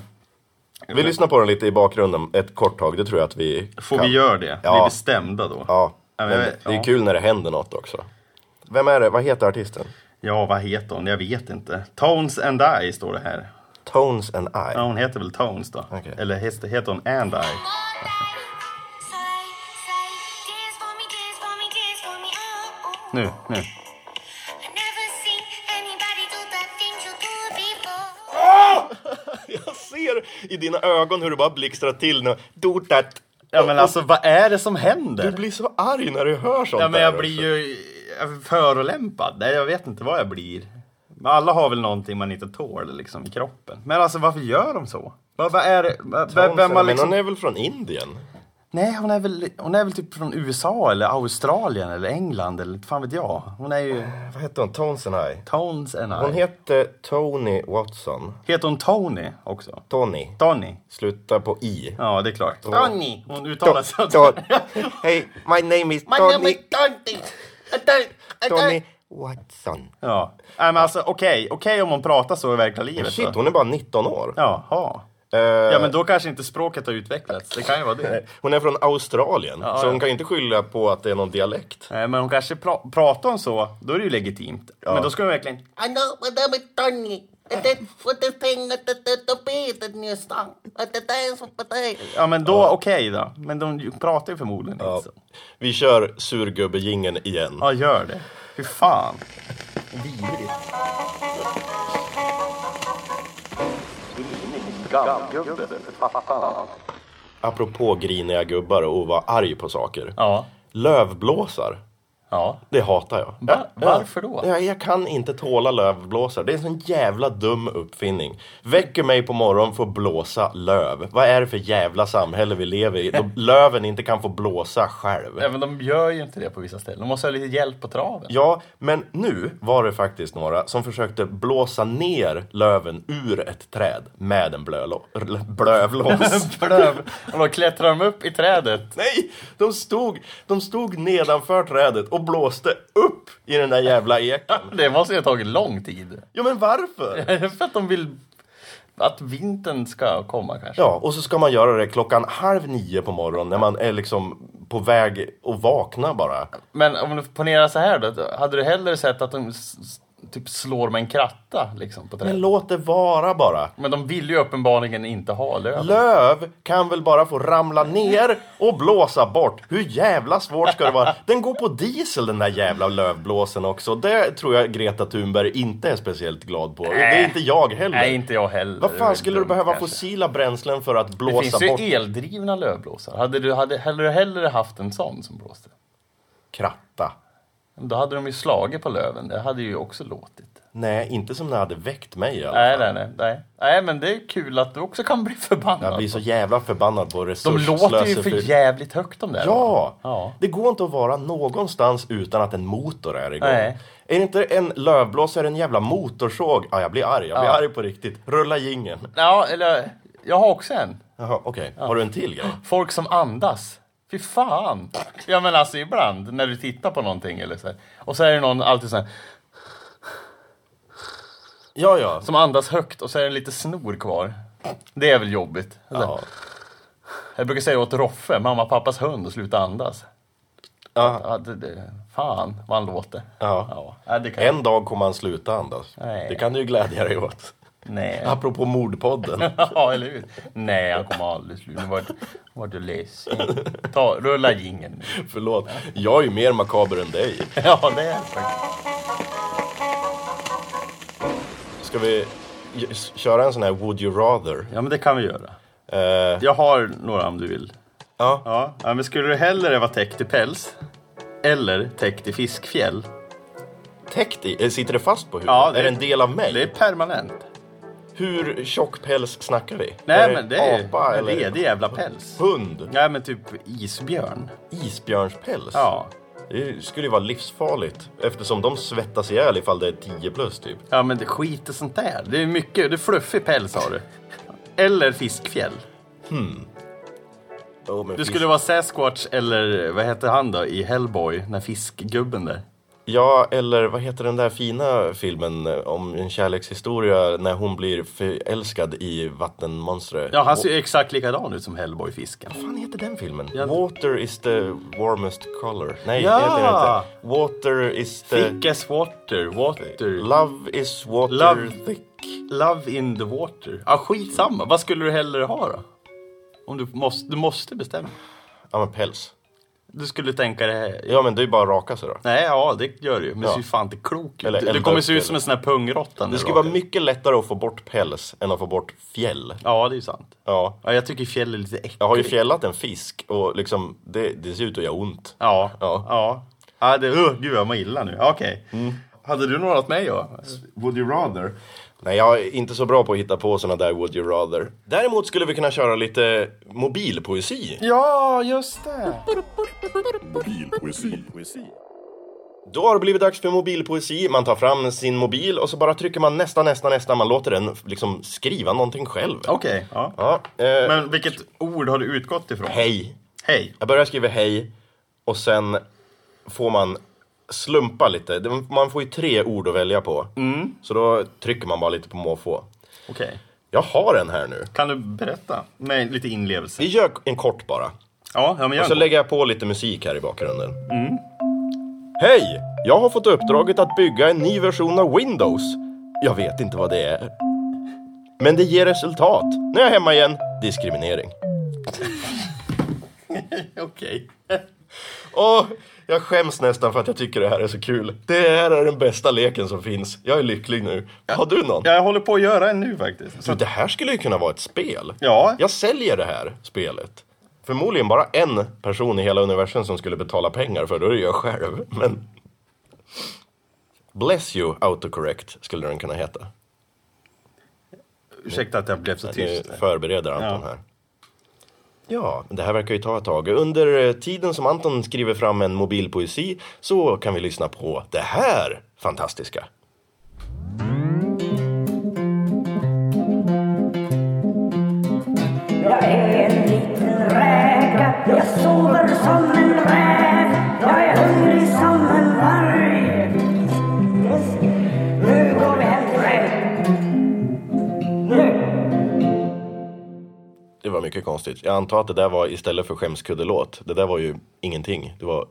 A: Vi lyssnar på den lite i bakgrunden ett kort tag, det tror jag att vi
B: Får
A: kan.
B: vi göra det? Vi är
A: Ja.
B: bestämda då.
A: Ja,
B: men
A: men
B: jag
A: det
B: vet-
A: är
B: ja.
A: kul när det händer något också. Vem är det? Vad heter artisten?
B: Ja, vad heter hon? Jag vet inte. Tones and I står det här.
A: Tones and I. [laughs]
B: Ja, hon heter väl Tones då.
A: Okej.
B: Eller heter heter hon and I? Nu, nu.
A: Jag ser i dina ögon hur du bara blixtrar till när... Do that,
B: Ja men alltså vad är det som händer?
A: Oh, Du blir så arg när du hör sånt
B: Ja, men jag
A: där
B: blir
A: också.
B: ju förolämpad. Nej, jag vet inte vad jag blir. Men alla har väl någonting man inte tål liksom, i kroppen. Men alltså varför gör de så? Vad, vad är det? Vad, vem, vem har
A: Men
B: liksom...
A: hon är väl från Indien?
B: Nej, hon är, väl, hon är väl typ från USA eller Australien eller England eller fan vet jag. Hon är ju
A: Vad hette hon? Tonsenhai?
B: Tones and I.
A: Hon hette Tony Watson.
B: Heter hon Tony också?
A: Tony.
B: Tony?
A: Slutar på I.
B: Ja, det är klart.
A: Tony.
B: Hon uttalar sig
A: Ton-
B: [laughs]
A: Hej, my name is Tony, Tony Watson.
B: Ja. Nej, men alltså okej, okej om hon pratar så i verkliga livet.
A: Oh,
B: då.
A: Shit, Eh. hon är bara 19 år.
B: Jaha. Ja men då kanske inte språket har utvecklats. Det kan ju vara det.
A: Hon är från Australien, så
B: ja.
A: hon kan ju inte skylla på att det är någon dialekt.
B: Nej, men hon kanske pra- pratar om så, då är det ju legitimt. Men då ska hon verkligen...
C: I know my name is Tony. And that's what the thing that the, the, the beat the new song. At the dance of the day.
B: Ja men då okej då. Men de ju- pratar ju förmodligen
A: Ja.
B: inte så.
A: Vi kör surgubbejingeln igen.
B: Ja gör det. Fy fan.
A: Apropå griniga gubbar och vara arg på saker.
B: Ja.
A: Lövblåsar,
B: Ja.
A: det hatar jag.
B: Va-
A: Ja,
B: varför då?
A: Ja, jag kan inte tåla lövblåsare. Det är en sån jävla dum uppfinning. Väcker mig på morgonen för att blåsa löv. Vad är det för jävla samhälle vi lever i?
B: [laughs]
A: Då löven inte kan få blåsa själv.
B: Även de gör ju inte det på vissa ställen. De måste ha lite hjälp på traven.
A: Ja, men nu var det faktiskt några som försökte blåsa ner löven ur ett träd med en blölå- blövlås.
B: [laughs] Blöv. Och då klättrar de upp i trädet. [laughs]
A: Nej, de stod, de stod nedanför trädet och blåste upp i den där jävla eken.
B: Det måste ju ha tagit lång tid. [laughs]
A: Ja, men varför?
B: För att de vill att vintern ska komma kanske.
A: Ja, och så ska man göra det klockan halv nio på morgonen när man är liksom på väg att vakna bara.
B: Men om du ponerar så här då, hade du hellre sett att de s- s- typ slår med en kratta liksom på trädet?
A: Men
B: Men,
A: låt det vara bara.
B: de vill ju uppenbarligen inte ha löv.
A: Löv kan väl bara få ramla ner och blåsa bort. Hur jävla svårt ska det vara? Den går på diesel den där jävla lövblåsen också. Det tror jag Greta Thunberg inte är speciellt glad på. Och det är inte jag heller.
B: Nej, inte jag heller.
A: Vad
B: Det är
A: fan skulle du
B: dumt,
A: behöva
B: kanske.
A: fossila bränslen för att
B: Det
A: blåsa
B: finns ju
A: bort
B: eldrivna lövblåsare. Hade du hade, hellre, hellre haft en sån som blåste?
A: kratta?
B: Då hade de ju slagit på löven. Det hade ju också låtit.
A: Nej, inte som det hade väckt mig. alltså. i alla
B: Nej,
A: fall.
B: nej, nej. Nej, nej men det är kul att du också kan bli förbannad.
A: Jag blir så jävla förbannad på
B: de låter ju för
A: resursslöseri.
B: jävligt högt de där.
A: Ja!
B: ja!
A: Det går inte att vara någonstans utan att en motor är igång.
B: Nej.
A: Är det inte en lövblåsare en jävla motorsåg? Ja, jag blir arg. Jag blir
B: Ja.
A: arg på riktigt. Rulla jingeln.
B: Ja, eller... Jag har också en.
A: Jaha, okej. Har du en till grej?
B: Folk som andas. Fy fan! Ja men alltså ibland när du tittar på någonting eller så här. Och så är det någon alltid så här,
A: Ja, ja.
B: som andas högt och så är det lite snor kvar. Det är väl jobbigt. Alltså,
A: Ja.
B: Jag brukar säga åt Roffe, mamma och pappas hund, att sluta andas.
A: Ja.
B: Ja, det, det, fan vad han låter.
A: Ja.
B: ja det kan,
A: En dag kommer han sluta andas.
B: Nej.
A: Det kan du ju glädja dig åt.
B: Nej.
A: Apropå mordpodden.
B: [laughs] Ja, eller hur? Nej, han kommer aldrig sluta. Nu vart- vart du ledsen. Ta, rulla jingeln.
A: [laughs] Förlåt. Jag är ju mer makaber än dig.
B: [laughs] Ja, det är det faktiskt.
A: Ska vi j- s- köra en sån här Would you rather?
B: Ja, men det kan vi göra.
A: Eh,
B: Jag har några om du vill.
A: ja.
B: Ja, ja, men skulle du hellre vara täckt i päls eller täckt i fiskfjäll?
A: Täckt i? eh, Sitter det fast på huvudet?
B: Ja, det-
A: är det en del av mig?
B: Det är permanent.
A: Hur tjock päls snackar vi?
B: Nej, men det är
A: apa
B: en
A: eller
B: ledig jävla päls.
A: hund?
B: Nej, men typ isbjörn.
A: Isbjörnspäls?
B: Ja.
A: Det skulle ju vara livsfarligt eftersom de svettas ihjäl ifall det är 10 plus typ.
B: Ja, men det skit och sånt där. Det är mycket. Det är fluffig päls har du. Eller fiskfjäll.
A: Oh, men
B: Du
A: fisk-
B: skulle vara Sasquatch eller vad heter han då i Hellboy? Den fiskgubben där.
A: Ja, eller vad heter den där fina filmen eh, om en kärlekshistoria när hon blir förälskad i vattenmonstret?
B: Ja, han
A: Wa-
B: ser ju exakt likadan ut som Hellboy-fisken.
A: Vad fan heter den filmen?
B: Ja.
A: Water is the warmest color. Nej,
B: Ja!
A: heter den inte. Water is the...
B: Thick as water, water.
A: Eh, Love is water
B: Love-
A: thick.
B: Love in the water. Ja, skitsamma. Vad skulle du hellre ha då? Om du måste, du måste bestämma.
A: Ja, men päls.
B: du skulle tänka det...
A: Ja men det är ju bara att raka sig då.
B: Nej, ja det gör du ju. Men du
A: Ja.
B: ser ju fan inte klok ut.
A: Eller
B: Du, du
A: elda
B: kommer
A: upp
B: se ut
A: det,
B: som en sån här pungrotta. när
A: Det
B: du
A: skulle vara
B: rakar.
A: mycket lättare att få bort päls än att få bort fjäll.
B: Ja, det är ju sant.
A: Ja.
B: Ja, jag tycker fjäll är lite äckligt.
A: Jag har ju fjällat en fisk och liksom, det, det ser ut att göra ont.
B: Ja.
A: Ja. Mm.
B: ja. ja det, uh, gud, jag mår illa nu. Okej. Hade du något åt mig då? Would you rather?
A: Nej, jag är inte så bra på att hitta på sådana där would you rather. Däremot skulle vi kunna köra lite mobilpoesi.
B: Ja, just det.
A: Då har det blivit dags för mobilpoesi. Man tar fram sin mobil och så bara trycker man nästa, nästa, nästa. Man låter den liksom skriva någonting själv.
B: Okej. ja.
A: Ja, eh,
B: Men vilket ord har du utgått ifrån?
A: Hej.
B: Hej.
A: Jag börjar skriva hej och sen får man slumpa lite. Det- Man får ju tre ord att välja på. Så då trycker man bara lite på måfå.
B: Okej.
A: Jag har en här nu.
B: Kan du berätta med lite inlevelse?
A: Vi gör en kort bara.
B: Ja, ja men
A: Och så
B: jag
A: lägger jag på lite musik här i bakgrunden. Hej! Jag har fått uppdraget att bygga en ny version av Windows. Jag vet inte vad det är. Men det ger resultat. Nu är jag hemma igen. Diskriminering.
B: Okej.
A: Åh, jag skäms nästan för att jag tycker det här är så kul. Det här är den bästa leken som finns. Jag är lycklig nu. Har du någon?
B: Jag håller på att göra en nu faktiskt.
A: Du,
B: Så,
A: det här skulle ju kunna vara ett spel.
B: ja.
A: Jag säljer det här spelet. Förmodligen bara en person i hela universum som skulle betala pengar för det, och det är jag själv. Men... Bless you autocorrect skulle den kunna heta.
B: Ursäkta att jag blev så
A: Nu
B: tyst.
A: förbereder Anton
B: Ja.
A: här. Ja, men det här verkar ju ta ett tag. Under eh, tiden som Anton skriver fram en mobilpoesi så kan vi lyssna på det här fantastiska.
D: Jag är en liten räka, jag sover som en räv. Jag är hungrig som en varg. Yes. Nu går vi hem till räv. Nu!
A: Det var mycket konstigt. Jag antar att det där var istället för skämskuddelåt. Det där var ju ingenting. Det var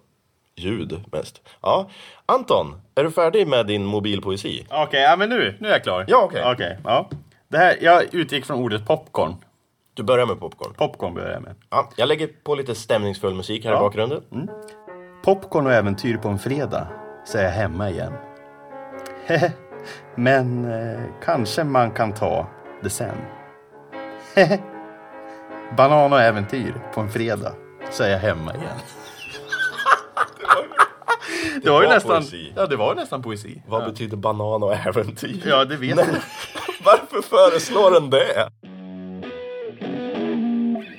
A: ljud mest. Ja, Anton, är du färdig med din mobilpoesi?
B: Okej, ja, men nu, nu är jag klar.
A: Ja, okej.
B: ja. Det här, jag utgick från ordet popcorn.
A: Du börjar med popcorn.
B: Popcorn börjar jag med.
A: Ja, jag lägger på lite stämningsfull musik här i
B: Ja.
A: bakgrunden.
B: Popcorn och äventyr på en fredag, så är jag hemma igen. [laughs] Hehe. Men eh, kanske man kan ta det sen. [laughs] Hehe. Banan och äventyr på en fredag, så är jag
A: [laughs]
B: hemma igen. Det var ju
A: var
B: nästan
A: poesi.
B: Ja, det var ju nästan poesi.
A: Vad betyder banan och äventyr?
B: Ja, det vet jag.
A: [laughs] Varför föreslår den det?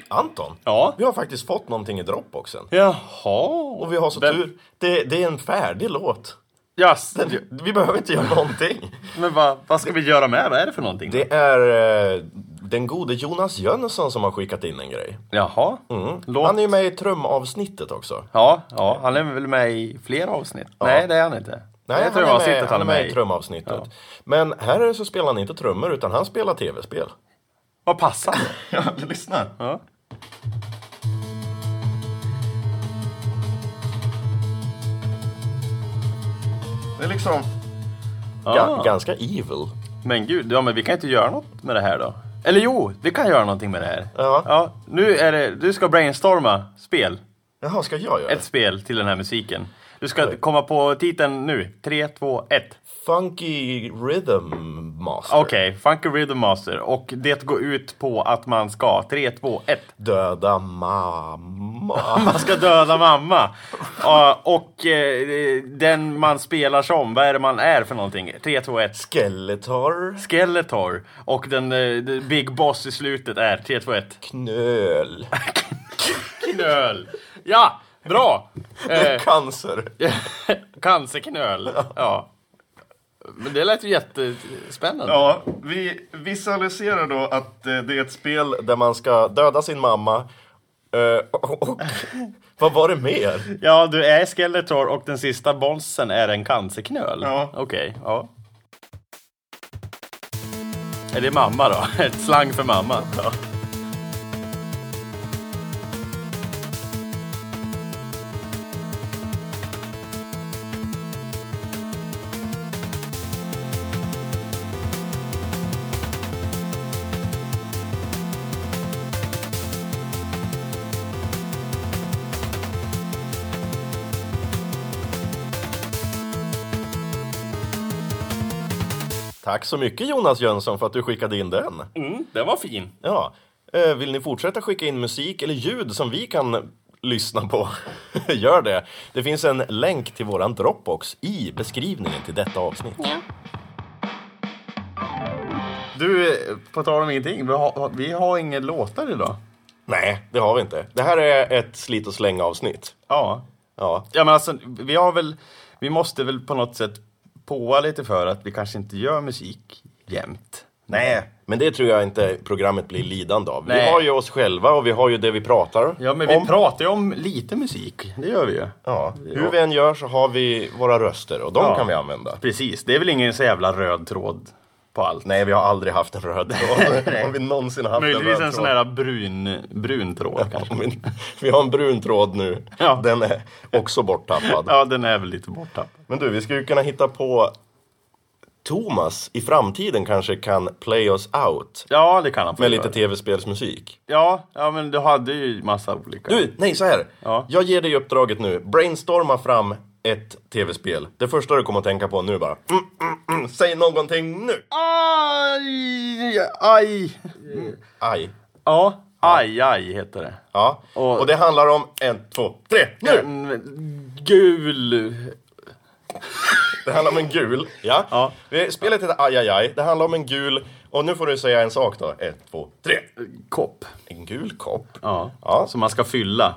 A: Anton,
B: Ja.
A: vi har faktiskt fått någonting i dropboxen.
B: Jaha.
A: Och vi har så
B: Vem-
A: tur. Det, det är en färdig låt.
B: Yes.
A: Vi behöver inte göra någonting.
B: Men vad, vad ska vi göra med? Vad är det för någonting?
A: Det är eh, den gode Jonas Jönsson som har skickat in en grej.
B: Jaha. Låt...
A: Mm. Han är ju med i trumavsnittet också.
B: Ja, ja, han är väl med i flera avsnitt? Nej, det är han inte. det är
A: han är, med,
B: trumavsnittet
A: han är med i
B: i.
A: trumavsnittet. Men här så spelar han inte trummor utan han spelar tv-spel.
B: Vad passande.
A: [laughs] Ja, lyssna.
B: Ja.
A: Det är liksom...
B: Ja.
A: ganska evil.
B: Men gud, ja, men vi kan inte göra något med det här då. Eller jo, vi kan göra någonting med det här.
A: Ja.
B: nu är det, du ska brainstorma spel.
A: Jaha, ska jag göra det?
B: Ett spel till den här musiken. Du ska komma på titeln nu. Tre, två, ett.
A: Funky Rhythm Master.
B: Okej, Funky Rhythm Master. Och det går ut på att man ska, tre, två, ett.
A: Döda mamma.
B: Man ska döda mamma. Ja, och eh, den man spelar som, vad är det man är för någonting? 3, 2, 1.
A: Skeletor.
B: Skeletor. Och den eh, the Big Boss i slutet är 3, 2, 1.
A: Knöl.
B: Knöl. Ja, bra! Eh,
A: Cancer.
B: cancerknöl. Ja. Men det lät ju jättespännande.
A: Ja, vi visualiserar då att eh, det är ett spel där man ska döda sin mamma. eh, och, och vad var det mer?
B: Ja, du är Skeletor och den sista bossen är en cancerknöl.
A: Ja.
B: Okej, ja. Är det mamma då? [laughs] Ett slang för mamma? Ja.
A: Tack så mycket Jonas Jönsson för att du skickade in den.
B: Mm, den var fin.
A: Ja. Eh, Vill ni fortsätta skicka in musik eller ljud som vi kan lyssna på? [laughs] Gör det! Det finns en länk till våran Dropbox i beskrivningen till detta avsnitt.
B: Du, eh, på tal om ingenting, vi har, vi har ingen låtar idag.
A: Nej, det har vi inte. Det här är ett slit och släng avsnitt.
B: Ja.
A: Ja,
B: ja, men alltså vi har väl, vi måste väl på något sätt påa lite för att vi kanske inte gör musik jämt.
A: Nej, men det tror jag inte programmet blir lidande av. Vi
B: Nej.
A: har ju oss själva och vi har ju det vi pratar
B: Ja, men vi
A: om.
B: pratar ju om lite musik, det gör vi ju.
A: ja, hur vi än gör så har vi våra röster och de
B: Ja.
A: kan vi använda.
B: Precis, det är väl ingen så jävla röd tråd på allt. Alltså,
A: Nej, vi har aldrig haft en röd
B: [laughs]
A: tråd. Om vi någonsin har haft
B: Möjligtvis
A: en
B: en
A: röd
B: sån
A: tråd.
B: här brun, brun [laughs] tråd kanske.
A: Men vi har en brun tråd nu.
B: Ja.
A: Den är också borttappad.
B: Ja, den är väl lite borta.
A: Men du, vi skulle kunna hitta på Thomas i framtiden kanske kan play us out
B: Ja, det kan han få
A: med
B: göra.
A: lite tv-spelsmusik.
B: Ja, ja, men du hade ju massa olika.
A: Du, nej så här.
B: Ja.
A: Jag ger dig uppdraget nu. Brainstorma fram ett tv-spel. Det första du kommer att tänka på nu bara. Mm, mm, mm. Säg någonting nu!
B: Aj, aj.
A: Aj.
B: Ja, aj, aj heter det.
A: Ja. Och,
B: Och-
A: det handlar om en, två, tre, nu!
B: En gul...
A: Det handlar om en gul. Ja.
B: Ja.
A: Vi- Spelet heter Aj, aj, aj. Det handlar om en gul. Och nu får du säga en sak då. Ett, två, tre.
B: kopp.
A: En gul kopp
B: Ja.
A: Ja. Mm.
B: Som man ska fylla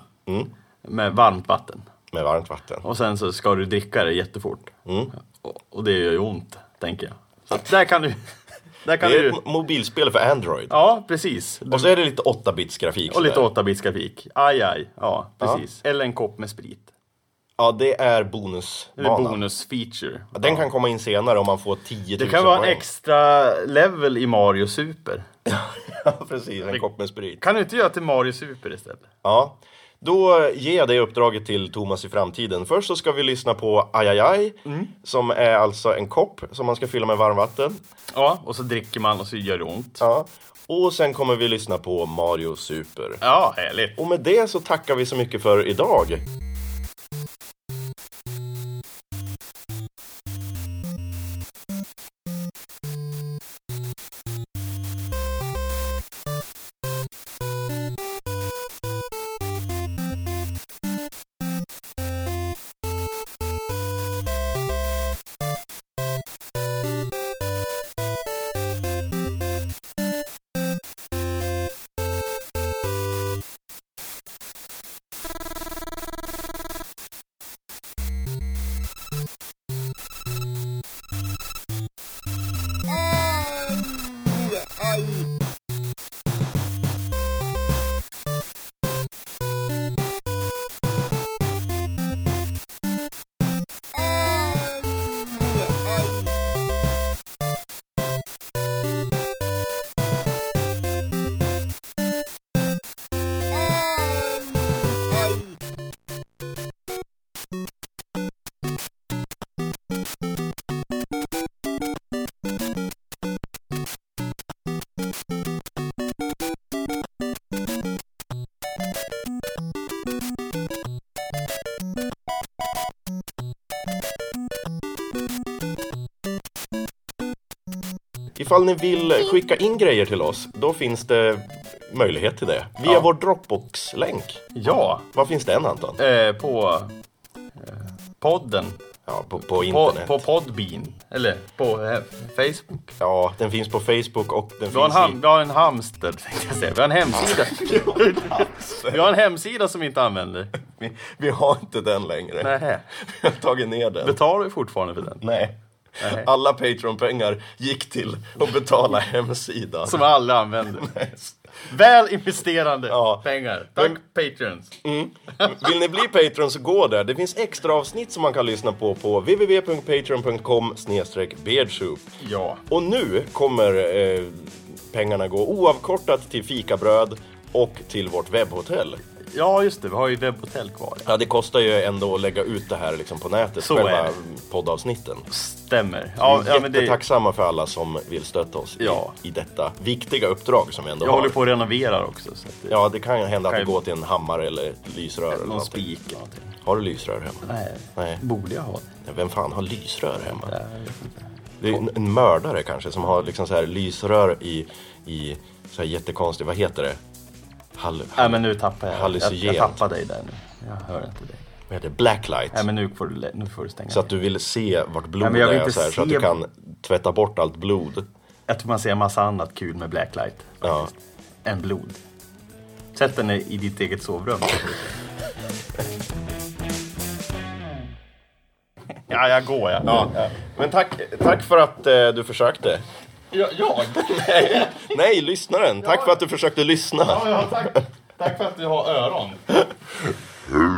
B: med varmt vatten.
A: med varmt vatten.
B: Och sen så ska du dricka det jättefort.
A: Mm.
B: Och, och det gör ju ont, tänker jag. Så att
A: [laughs]
B: där kan du... Där kan
A: Det är
B: du...
A: ett mobilspel för Android.
B: Ja, precis.
A: Och så är det lite 8-bits grafik.
B: Och lite
A: sådär.
B: 8 bits grafik. Aj, aj. Ja, precis. Eller en kopp med sprit.
A: Ja, det är
B: Det är
A: bonusbanan.
B: bonusfeature.
A: Den kan komma in senare om man får 10 000
B: Det kan vara en
A: poäng.
B: extra level i Mario Super.
A: Ja, [laughs] precis. En kopp med sprit.
B: Kan du inte göra till Mario Super istället?
A: Ja. Då ger jag det uppdraget till Thomas i framtiden. Först så ska vi lyssna på Aj aj aj,
B: Mm.
A: som är alltså en kopp som man ska fylla med varmvatten.
B: Ja, och så dricker man och så gör det ont.
A: Ja. Och sen kommer vi lyssna på Mario Super.
B: Ja, härligt.
A: Och med det så tackar vi så mycket för idag. Ifall ni vill skicka in grejer till oss, då finns det möjlighet till det. Via
B: Ja.
A: vår Dropbox-länk.
B: Ja,
A: Var finns den Anton?
B: eh, på eh, podden.
A: Ja, på, på
B: På,
A: internet.
B: på Podbean. Eller på eh, Facebook.
A: Ja, den finns på Facebook och den
B: Vi har, en
A: finns
B: ham-
A: i...
B: vi har en hamster, tänkte jag säga. [laughs] Vi har en hemsida. vi har en hemsida som vi inte använder.
A: Vi, vi har inte den längre.
B: Nej.
A: Jag har tagit ner den.
B: Betalar vi fortfarande för den?
A: Nej.
B: Nej.
A: Alla Patreon-pengar gick till att betala hemsidan.
B: Som vi aldrig använder. [laughs] Väl investerande
A: Ja.
B: pengar. Tack Patreons.
A: Vill ni bli Patreon så gå där. Det finns extra avsnitt som man kan lyssna på på www.patreon.com beardsoup.
B: Ja.
A: Och nu kommer eh, pengarna gå oavkortat till fikabröd och till vårt webbhotell.
B: ja, just det. Vi har ju webbhotell kvar.
A: Ja, det kostar ju ändå att lägga ut det här liksom på nätet,
B: Så
A: själva
B: är det.
A: poddavsnitten.
B: Stämmer. Ja,
A: Vi är
B: ja, men det,
A: jättetacksamma för alla som vill stötta oss
B: Ja.
A: i, i detta viktiga uppdrag som vi ändå
B: jag
A: har.
B: håller på att renovera också. Så att det,
A: Ja, det kan ju hända att
B: Kan
A: det
B: ju-
A: går till en hammare eller ett lysrör eller
B: någon
A: någonting.
B: spik eller någonting.
A: Har du lysrör hemma?
B: Nej.
A: Nej.
B: Borde jag ha det?
A: Vem fan har lysrör hemma?
B: Jag vet inte.
A: Det är en, en mördare kanske som har liksom så här lysrör i, i så här jättekonstigt, vad heter det? Hall,
B: Nej men nu tappar jag. Jag, jag
A: Hallucinogent.
B: tappar dig där nu. Jag hör inte dig.
A: vad heter det? Blacklight.
B: Nej men nu får du, lä- nu får du stänga
A: Så att
B: ner.
A: du vill se vart
B: Nej,
A: blodet
B: men jag vill
A: är
B: inte
A: så, här, så att
B: se-
A: du kan tvätta bort allt blod.
B: Jag tror man ser en massa annat kul med blacklight.
A: Ja.
B: Än blod. Sätt den i- i ditt eget sovrum. ja, jag går jag.
A: Ja. Men tack, tack för att eh, du försökte.
B: Jag?
A: [laughs] Nej, lyssnaren. Tack för att du försökte lyssna.
B: tack. tack för att du har öron.
E: Hej